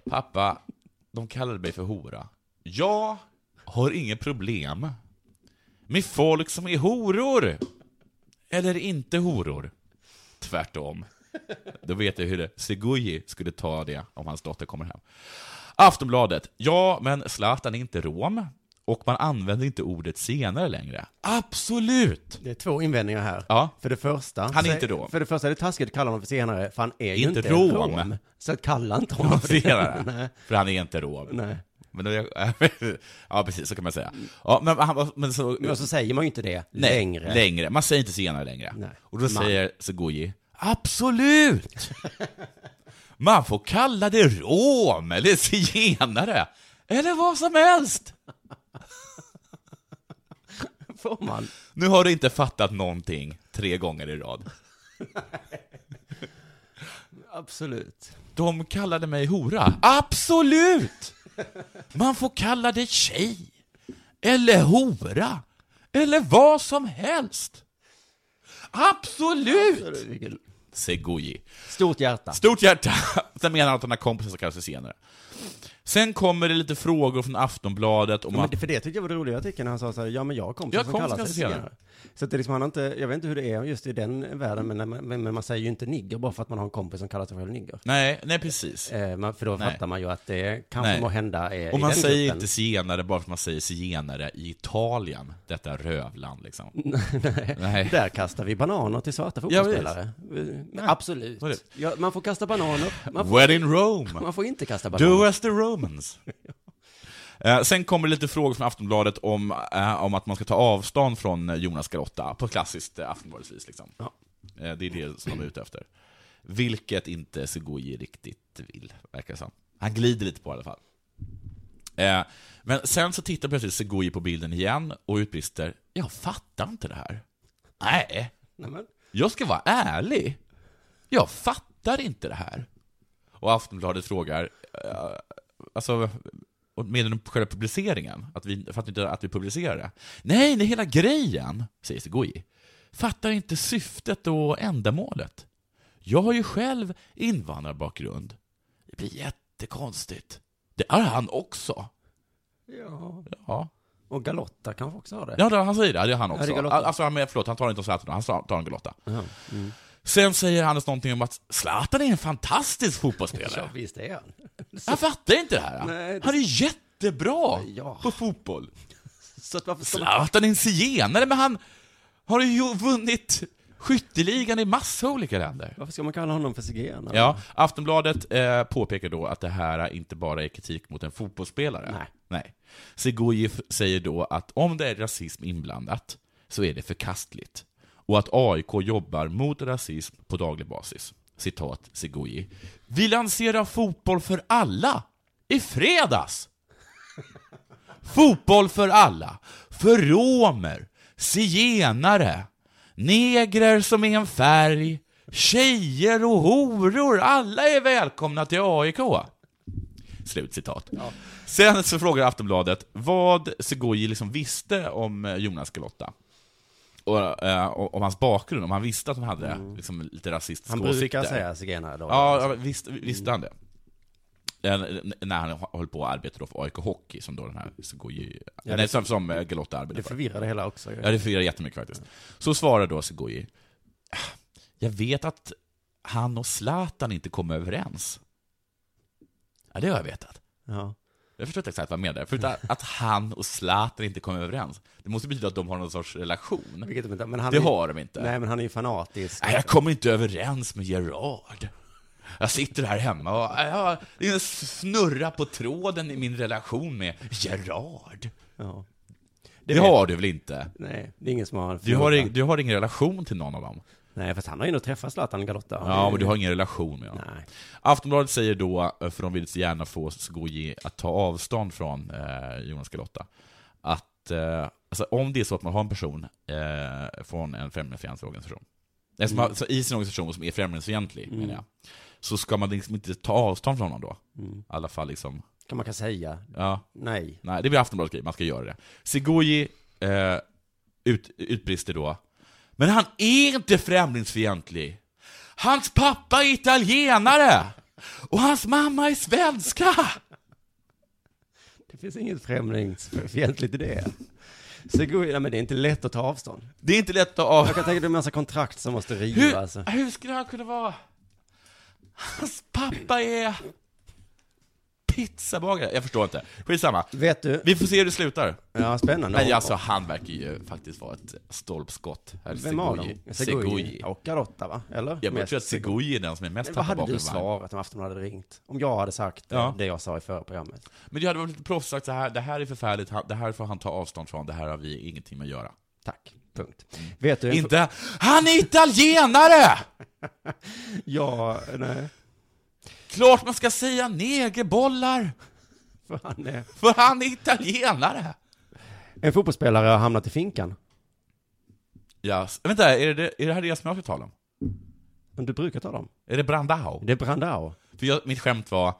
I: Pappa, de kallade mig för hora. Jag har inget problem med folk som är horor. Eller inte horor. Tvärtom. Då vet jag hur det- Seguyi skulle ta det om hans dotter kommer hem. Aftonbladet. Ja, men Zlatan är inte rom. Och man använder inte ordet senare längre. Absolut!
H: Det är två invändningar här.
I: Ja.
H: För det första.
I: Han är
H: så-
I: inte rom.
H: För det första är det taskigt att kalla honom för senare, för han är ju
I: Inte
H: inte,
I: rom.
H: rom. Så att kalla inte honom
I: Ja,
H: för <laughs> det.
I: senare. För han är inte rom.
H: Nej.
I: Men då, <laughs> ja, precis, så kan man säga. Ja, men, han, men, så,
H: Men så säger man ju inte det
I: Nej,
H: längre.
I: längre. Man säger inte senare längre. Och då
H: Man.
I: säger Segoji,
H: <laughs>
I: absolut! Man får kalla det rom eller zigenare, eller vad som helst.
H: Får man?
I: Nu har du inte fattat någonting tre gånger i rad.
H: Absolut.
I: De kallade mig hora. Absolut! Man får kalla det tjej, eller hora, eller vad som helst. Absolut!
H: Vilken-
I: Segoji.
H: Stort hjärta.
I: Stort hjärta. <laughs> Sen menar han att han har kompisar som kallar sig senare. Sen kommer det lite frågor från Aftonbladet om
H: Ja, men
I: att...
H: det, för det tyckte jag var det roliga artikeln när han sa så här, ja men jag har kompisar
I: Jag har
H: som kallar
I: kompisar
H: sig
I: som kallar
H: zigenare. Så att det är liksom, han har inte, jag vet inte hur det är just i den världen, men, när man, men men man säger ju inte nigger bara för att man har en kompis som kallar sig själv nigger.
I: Nej, nej precis.
H: Eh, man, för då
I: Nej.
H: fattar man ju att det kanske
I: Nej.
H: må hända eh,
I: Och
H: i
I: man
H: den
I: säger
H: gruppen. <laughs>
I: inte zigenare bara för att man säger zigenare i Italien, detta rövland liksom.
H: Mm, Nej.
I: Nej.
H: Där kastar vi bananer till svarta
I: Ja,
H: fotbollsspelare. Eh, Absolut.
I: Vad är det?
H: Ja, man får kasta bananer. Man får,
I: Where in Rome?
H: man får inte kasta bananer.
I: Do as the Romans. Eh, Sen kommer lite frågor från Aftonbladet om, eh, om att man ska ta avstånd från eh, Jonas Garotta, på klassiskt eh, Aftonbladets vis. Liksom. Eh, Det är det som de är ute efter. Vilket inte Segoji riktigt vill, verkar det som. Han glider lite på det i alla fall. Eh, Men sen så tittar plötsligt Segoji på bilden igen och utbrister ”Jag fattar inte det här”. Nej,
H: Nämen.
I: jag ska vara ärlig. Jag fattar inte det här. Och Aftonbladet frågar, eh, alltså, och menar de själva publiceringen? Att vi fattar inte att vi publicerar det? Nej, det är hela grejen, säger Segoji. Fattar inte syftet och ändamålet. Jag har ju själv invandrarbakgrund. Det blir jättekonstigt. Det har han också.
H: Ja.
I: Ja.
H: Och Galotta kanske också har det?
I: Ja, det, han säger det. Det är han
H: Ja,
I: också.
H: det är Galotta.
I: alltså, han, men förlåt, han tar inte om Zlatan, han tar en Galotta.
H: Jaha, mm.
I: Sen säger Hannes någonting om att Zlatan är en fantastisk
H: Ja,
I: fotbollsspelare.
H: visst är han.
I: Han fattar inte det här.
H: Nej, det-
I: Han är jättebra
H: Ja.
I: på fotboll.
H: <laughs> Så att varför ska man-
I: Zlatan är en zigenare, men han har ju vunnit skytteligan i massa olika länder.
H: Varför ska man kalla honom för zigenare?
I: Ja, Aftonbladet eh, påpekar då att det här inte bara är kritik mot en fotbollsspelare. Nej. Nej. Segojev säger då att om det är rasism inblandat så är det förkastligt. Och att AIK jobbar mot rasism på daglig basis. Citat Segoji. Vi lanserar fotboll för alla i fredags! Fotboll för alla, för romer, zigenare, negrer som är en färg, tjejer och horor, alla är välkomna till AIK. Slut citat. Sen så frågar Aftonbladet vad Segoji liksom visste om eh, Jonas Galotta. Och, eh, och, om hans bakgrund, om han visste att han hade liksom, lite rasistiska
H: Mm. Han
I: åsikter.
H: brukar säga zigenare då.
I: Ja, ja, visst, visste han det. Eh, n- När han höll på att arbeta då för AIK Hockey, som då den här Segoji...
H: Ja,
I: nej,
H: det-
I: som, som eh, Galotta arbetade
H: Det
I: för.
H: förvirrar det hela också. ju.
I: Ja, det förvirrar jättemycket faktiskt. Så svarar då Segoji. "Ah, Jag vet att han och Zlatan inte kom överens. Ja, det har jag vetat.
H: Ja.
I: Jag förstår inte exakt vad han menar. Förutom att han och Zlatan inte kom överens. Det måste betyda att de har någon sorts relation.
H: Vilket de inte- men han
I: det
H: är-
I: har de inte.
H: Nej, men han är ju fanatisk.
I: Nej, jag kommer inte överens med Gerard. Jag sitter här hemma och jag har en snurra på tråden i min relation med Gerard.
H: Ja.
I: Det,
H: Det vet-
I: har du väl inte?
H: Nej, det är ingen som har...
I: Du har, ing- du har ingen relation till någon av dem?
H: Nej, fast han har ju ändå träffat Zlatan Galotta.
I: Ja, men du har ingen relation med honom. Aftonbladet säger då, eh, för de vill så gärna få Skoji att ta avstånd från eh, Jonas Galotta, att eh, alltså, om det är så att man har en person eh, från en främlingsfientlig organisation, eh, som har,
H: Mm.
I: så i sin organisation som är främlingsfientlig,
H: Mm.
I: menar jag, så ska man liksom inte ta avstånd från honom då.
H: Mm.
I: I alla fall liksom...
H: Kan man kan säga.
I: Ja.
H: Nej.
I: Nej, det blir Aftonbladets grej, man ska göra det. Segoji eh, ut, utbrister då. Men han är inte främlingsfientlig! Hans pappa är italienare! Och hans mamma är svenska!
H: Det finns inget främlingsfientligt i det. Så går, nej, men det är inte lätt att ta avstånd.
I: Det är inte lätt att ta av...
H: Jag kan tänka mig en massa kontrakt som måste
I: Hur,
H: rivas. Alltså,
I: hur skulle han kunna vara... Hans pappa är... Pizzabagare? Jag förstår inte. Skitsamma.
H: Vet du?
I: Vi får se hur det slutar.
H: Ja, spännande.
I: Men alltså, han verkar ju faktiskt vara ett stolpskott. Här
H: Vem av dem?
I: Segoji. Segoji.
H: Segoji. Och Garotta, va? Eller?
I: Ja, men jag
H: Mest
I: tror att Segoji är den som är mest
H: Men Vad
I: tappad
H: hade
I: bakom
H: du
I: vagn.
H: svarat om Aftonbladet hade ringt? Om jag hade sagt eh,
I: Ja.
H: det jag sa i förra programmet?
I: Men det hade varit lite proffs sagt så här, det här är förfärligt, han- det här får han ta avstånd från, det här har vi ingenting med att göra.
H: Tack. Punkt. Vet du?
I: Inte, han är italienare!
H: Ja, nej.
I: Klart man ska säga negerbollar,
H: För han är...
I: för han är italienare!
H: En fotbollsspelare har hamnat i finkan.
I: Ja, s- vänta, är det, är det här det som jag ska tala om?
H: Men du brukar ta dem.
I: Är det Brandao?
H: Det är Brandao.
I: För jag, mitt skämt var,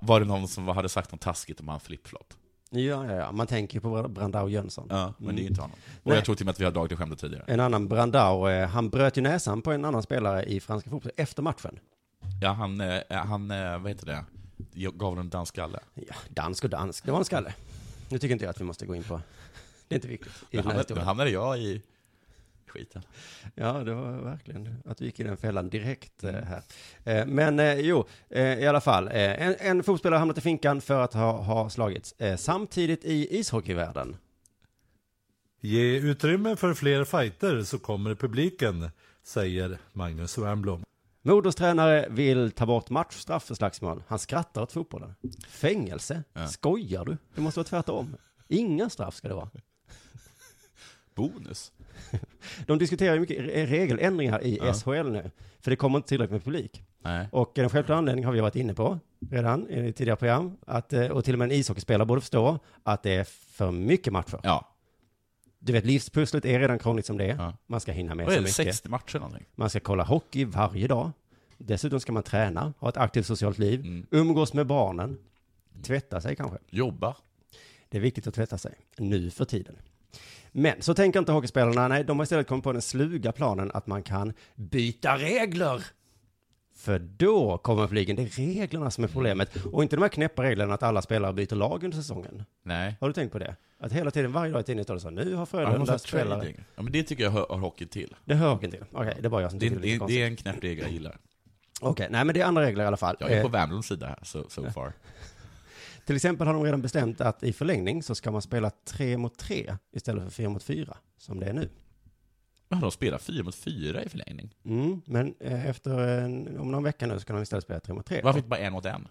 I: var det någon som hade sagt något taskigt om han flipflop?
H: Ja, ja, ja. Man tänker ju på Brandao Jönsson.
I: Ja, men det är ju inte honom. Och
H: Nej.
I: jag tror till och med att vi har dragit det skämtet tidigare.
H: En annan Brandao, eh, han bröt ju näsan på en annan spelare i franska fotbollen efter matchen.
I: Ja, han, eh, han, eh, vad heter det? Jag gav honom en dansskalle.
H: Ja, dansk och dansk, det var en skalle. Nu tycker inte jag att vi måste gå in på... Det är inte viktigt i
I: Nu
H: den här
I: hamnade, nu
H: historien.
I: hamnade jag i skiten.
H: Ja, det var verkligen att vi gick i den fällan direkt eh, här. Eh, Men eh, jo, eh, i alla fall. eh, En, en fotbollsspelare har hamnat i finkan för att ha, ha slagits. Eh, Samtidigt i ishockeyvärlden.
L: Ge utrymme för fler fighter så kommer publiken, säger Magnus Wernbloom.
H: Modos tränare vill ta bort matchstraff för slagsmål. Han skrattar åt fotbollen. Fängelse? Skojar du? Det måste vara tvärtom. Inga straff ska det vara.
I: Bonus?
H: De diskuterar ju mycket re- regeländringar i
I: Ja.
H: SHL nu, för det kommer inte tillräckligt med publik.
I: Nej.
H: Och en självklar anledning har vi varit inne på redan i tidigare program, att, eh, och till och med en ishockeyspelare borde förstå att det är för mycket matcher.
I: Ja.
H: Du vet, livspusslet är redan krångligt som det är. Man ska hinna med
I: Vad är
H: så
I: det,
H: mycket.
I: 60 matcher eller någonting?
H: Man ska kolla hockey varje dag. Dessutom ska man träna, ha ett aktivt socialt liv,
I: Mm.
H: umgås med barnen, tvätta sig kanske.
I: Jobba.
H: Det är viktigt att tvätta sig, nu för tiden. Men så tänker inte hockeyspelarna, nej, de har istället kommit på den sluga planen att man kan byta regler. För då kommer flygen. Det är reglerna som är problemet. Och inte de här knäppa reglerna att alla spelare byter lag under säsongen.
I: Nej.
H: Har du tänkt på det? Att hela tiden, varje dag i tidningen står det så, nu har
I: Ja, man måste
H: Frölunda
I: ha
H: spelare.
I: trading. Ja, men det tycker jag hör, hör hockey till.
H: Det hör hockeyn till. Okej, det är bara jag som
I: det,
H: tycker det är lite
I: det,
H: konstigt.
I: det är en knäpp regel jag gillar.
H: Okej, nej men det är andra regler i alla fall.
I: Jag är på
H: Eh,
I: Wernbloms sida här, so, so far.
H: Till exempel har de redan bestämt att i förlängning så ska man spela tre mot tre istället för fyra mot fyra som det är nu.
I: Men de spelar fyra mot fyra i förlängning.
H: Mm, men eh, efter en, om någon vecka nu så kan de istället spela tre mot tre.
I: Varför inte bara en mot en?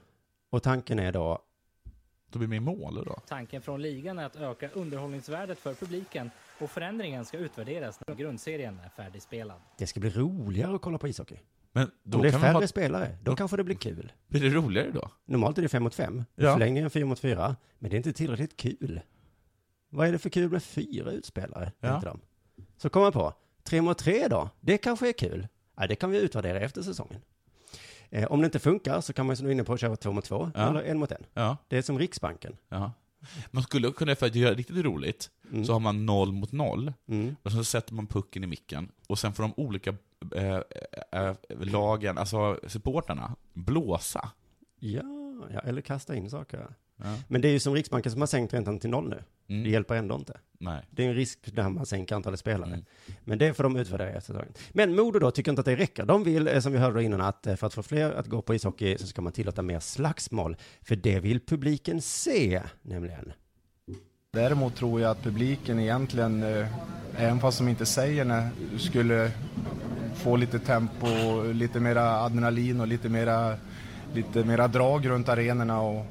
H: Och tanken är då...
I: Då blir det mer mål då.
M: Tanken från ligan är att öka underhållningsvärdet för publiken och förändringen ska utvärderas när grundserien är färdigspelad.
H: Det ska bli roligare att kolla på ishockey.
I: Men
H: då om det är
I: kan man
H: färre
I: ha-
H: spelare, då, kanske det blir kul.
I: Blir det roligare då?
H: Normalt är det fem mot fem. i
I: Ja.
H: förlängningen fyra mot fyra. men det är inte tillräckligt kul. Vad är det för kul med fyra utspelare?
I: Ja.
H: tänkte de. Så kom man på, tre mot tre då, det kanske är kul. Ja, det kan vi utvärdera efter säsongen. Eh, om det inte funkar så kan man som du är inne på köra två mot två,
I: Ja.
H: eller en mot en.
I: Ja.
H: Det är som Riksbanken.
I: Ja. Man skulle kunna, för att göra det riktigt roligt,
H: Mm.
I: så har man noll mot noll. Och så sätter man pucken i micken. Och sen får de olika eh, eh, lagen, alltså supporterna, blåsa.
H: Ja, ja, eller kasta in saker.
I: Ja.
H: Men det är ju som Riksbanken som har sänkt räntan till noll nu.
I: Mm.
H: Det hjälper ändå inte.
I: Nej.
H: Det är en risk när man sänker antalet spelare.
I: Mm.
H: Men det får de utvärdera efter säsongen. Men Modo då tycker inte att det räcker. De vill, eh, som vi hörde innan, att eh, för att få fler att gå på ishockey så ska man tillåta mer slagsmål. För det vill publiken se, nämligen.
N: Däremot tror jag att publiken egentligen, eh, även fast de inte säger det, skulle få lite tempo, lite mera adrenalin och lite mera, lite mera drag runt arenorna. Och,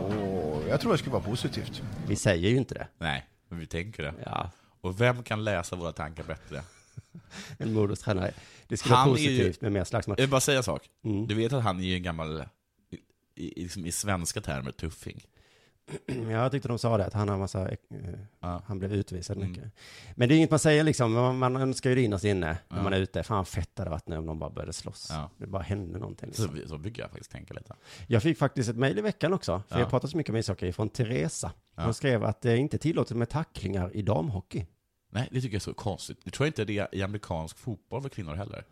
N: och jag tror det skulle vara positivt.
H: Vi säger ju inte det.
I: Nej, men vi tänker det.
H: Ja.
I: Och vem kan läsa våra tankar bättre?
H: En Modos tränare. Det skulle vara positivt med mer slagsmål. <clears throat>
I: Jag vill bara säga en sak.
H: Mm.
I: Du vet att han är ju en gammal, i, i, liksom i svenska termer, tuffing.
H: Ja, jag tyckte de sa det, att han har massa, eh, han blev utvisad
I: Mm.
H: mycket. Men det är inget man säger liksom, man, man önskar ju det innerst inne när
I: Ja.
H: man är ute. Fan vad fett det hade varit nu om de bara började slåss.
I: Ja.
H: Det bara hände någonting.
I: Så,
H: Liksom.
I: vi- så brukar jag faktiskt tänka lite.
H: Jag fick faktiskt ett mejl i veckan också, för
I: Ja.
H: jag pratar så mycket om ishockey, från Teresa.
I: Ja.
H: Hon skrev att det är inte tillåtet med tacklingar i damhockey.
I: Nej, det tycker jag är så konstigt. Det tror jag inte det är i amerikansk fotboll för kvinnor heller.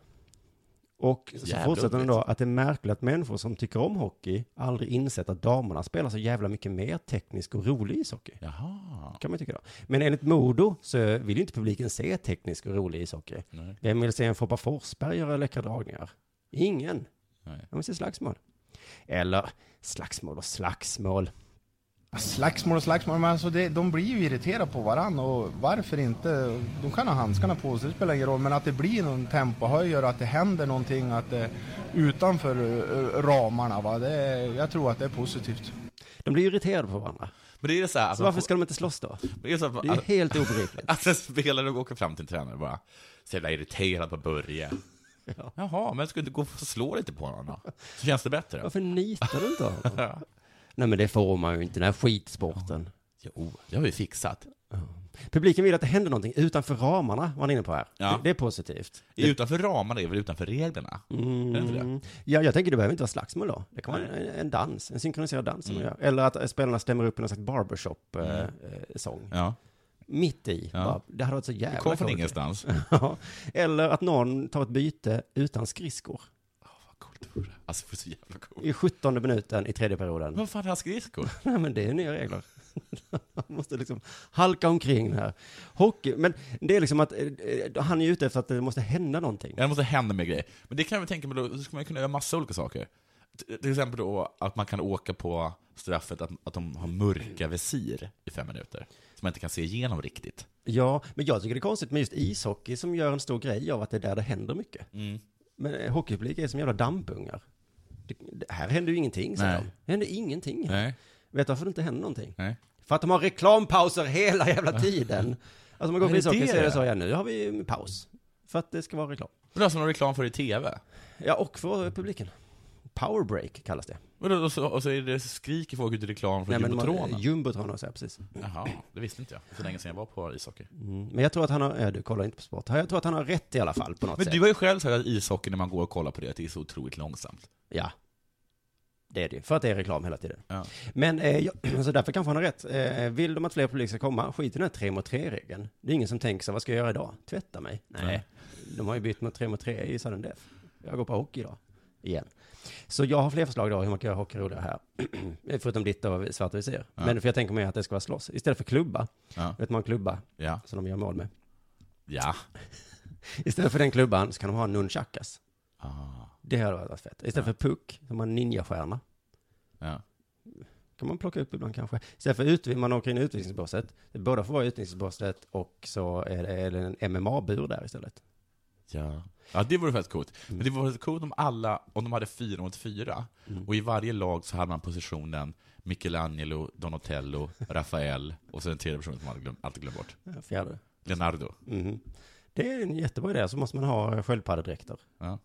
H: Och så
I: Jävla
H: fortsätter hon då
I: underligt.
H: att det är märkligt att människor som tycker om hockey aldrig insett att damerna spelar så jävla mycket mer teknisk och rolig ishockey.
I: Jaha.
H: kan man ju tycka då. Men enligt Modo så vill ju inte publiken se teknisk och rolig ishockey.
I: Nej.
H: Vem vill se en Foppa Forsberg göra läckra dragningar? Ingen.
I: Nej.
H: De vill se slagsmål. Eller slagsmål och slagsmål.
N: Slagsmål och slagsmål, men alltså det, de blir ju irriterade på varann och varför inte? De kan ha handskarna på sig, det spelar ingen roll, men att det blir någon tempohöjare, att det händer någonting att det, utanför eh, ramarna, va? Det, jag tror att det är positivt.
H: De blir irriterade på varandra.
I: Men det är så här, alltså, att
H: Så
I: man
H: varför
I: får-
H: ska de inte slåss då?
I: Det är, så
H: Det är helt obegripligt.
I: Att en spelare åker fram till en tränare och bara, så jävla irriterad på
H: <laughs>
I: Börje. Jaha, men ska du inte gå och slå lite på honom då? Så känns det bättre.
H: Varför nitar du
I: <laughs>
H: inte honom? Nej men det får man ju inte, den här skitsporten.
I: Jo, oh, det har vi fixat.
H: Publiken vill att det händer någonting utanför ramarna, var ni inne på här.
I: Ja.
H: Det, det är positivt.
I: Utanför ramarna är väl utanför reglerna? Är det inte det?
H: Mm. Ja, jag tänker det behöver inte vara slagsmål då. Det kan vara
I: Nej.
H: en, en dans, en synkroniserad dans som
I: Mm.
H: man gör. Eller att eh, spelarna stämmer upp i någon slags barbershop-sång.
I: Mm.
H: Mitt i.
I: Ja.
H: Bara, det hade varit så jävla
I: kom från
H: coolt.
I: ingenstans.
H: <laughs> Ja. Eller att någon tar ett byte utan skridskor.
I: Alltså, det är så jävla coolt.
H: I 17 minuten i tredje perioden.
I: Vad fan är hans skridskor?
H: Nej, men det är nya regler. <laughs> Han måste liksom halka omkring här. Hockey, men det är liksom att eh, eh, han är ute efter att det måste hända någonting.
I: Ja, det måste hända mer grejer. Men det kan jag väl tänka mig, då då skulle man kunna göra massa olika saker. T- Till exempel då att man kan åka på straffet att, att de har mörka visir i fem minuter. Som man inte kan se igenom riktigt.
H: Ja, men jag tycker det är konstigt med just ishockey som gör en stor grej av att det är där det händer mycket.
I: Mm.
H: Men eh, hockeypublik är som jävla dampungar. Det, det, här händer ju ingenting, säger
I: Nej.
H: de. Det händer ingenting här.
I: Nej.
H: Vet du varför det inte händer någonting?
I: Nej.
H: För att de har reklampauser
I: <laughs>
H: hela jävla tiden. Alltså om man går
I: Är
H: på
I: det
H: ishockey
I: det
H: så
I: det
H: är det
I: är?
H: så, ja nu har vi en paus. För att det ska vara reklam.
I: Men det är som de reklam för i TV.
H: Ja, och för eh, publiken. Powerbreak kallas det.
I: Och, då, och, så, och så är det skriker folk ut i reklam för
H: men
I: jumbotronen.
H: man- Jumbotronen, så ja, precis.
I: Jaha, det visste inte jag. Så länge sedan jag var på ishockey.
H: Mm. Men jag tror att han har, ja, du kollar inte på sport. Jag tror att han har rätt i alla fall på något
I: Men
H: sätt.
I: du har ju själv sagt att ishockey, när man går och kollar på det, att det är så otroligt långsamt.
H: Ja. Det är det ju, för att det är reklam hela tiden.
I: Ja.
H: Men, eh, jag, <clears throat> så därför kanske han har rätt. Eh, vill de att fler publik ska komma, skit i den här 3 mot 3-regeln. Det är ingen som tänker så, vad ska jag göra idag? Tvätta mig? Nej.
I: Nej.
H: De har ju bytt mot 3 mot 3 i sudden death. Jag går på hockey idag. igen. Så jag har fler förslag då hur man kan göra hockey roligare här. <clears throat> Förutom ditt och svarta visir. Men för jag tänker mig att det ska vara slåss. Istället för klubba. Vet man klubba?
I: Ja.
H: Som de gör mål med.
I: Ja.
H: Istället för den klubban så kan de ha nunchakas.
I: Ah,
H: Det hade varit fett. Istället för puck, de har en ninjastjärna.
I: Ja.
H: Kan man plocka upp ibland kanske. Istället för utv- man åker in i utvisningsbåset. Det båda får vara i utvisningsbåset och så är det, är det en MMA-bur där istället.
I: Ja. Ja, det vore faktiskt coolt. Men det vore coolt om alla, om de hade fyra mot fyra,
H: Mm.
I: och i varje lag så hade man positionen Michelangelo, Donatello, Rafael, och sen en tredje person som man glöm, alltid glömmer bort.
H: Ja, fjärde.
I: Leonardo.
H: Mhm. Det är en jättebra idé. Så måste man ha sköldpaddedräkter.
I: Ja.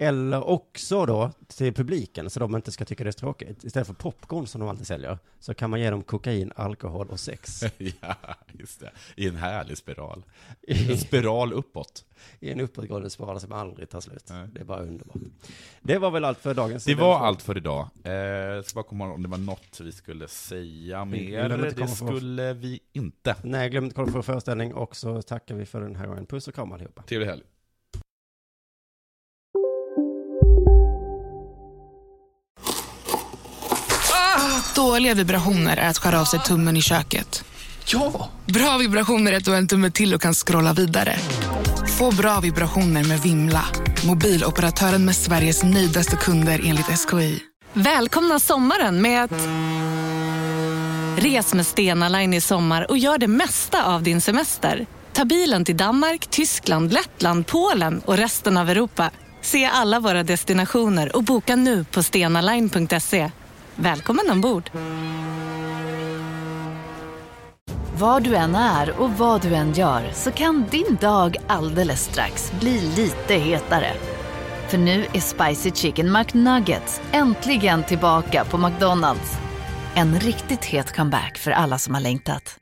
H: Eller också då till publiken, så de inte ska tycka det är tråkigt. Istället för popcorn som de alltid säljer, så kan man ge dem kokain, alkohol och sex.
I: <laughs> ja, just det. I en härlig spiral. En spiral uppåt.
H: I en uppåtgående spiral som aldrig tar slut. Det är bara underbart. Det var väl allt för dagens...
I: Det var allt för idag. Eh, jag ska bara komma ihåg om det var något vi skulle säga mer.
H: glömde inte
I: Det
H: komma på-
I: skulle vi inte.
H: Nej, glöm inte kolla på vår föreställning och så tackar vi för den här gången. Puss och kram allihopa.
I: Trevlig helg.
O: Dåliga vibrationer är att skära av sig tummen i köket.
B: Ja!
O: Bra vibrationer är att du har en tumme till och kan scrolla vidare. Få bra vibrationer med Vimla. Mobiloperatören med Sveriges nöjdaste kunder enligt SKI.
P: Välkomna sommaren med att... Res med Stena Line i sommar och gör det mesta av din semester. Ta bilen till Danmark, Tyskland, Lettland, Polen och resten av Europa. Se alla våra destinationer och boka nu på stenaline.se. Välkommen ombord!
Q: Var du än är och vad du än gör så kan din dag alldeles strax bli lite hetare. För nu är Spicy Chicken McNuggets äntligen tillbaka på McDonalds. En riktigt het comeback för alla som har längtat.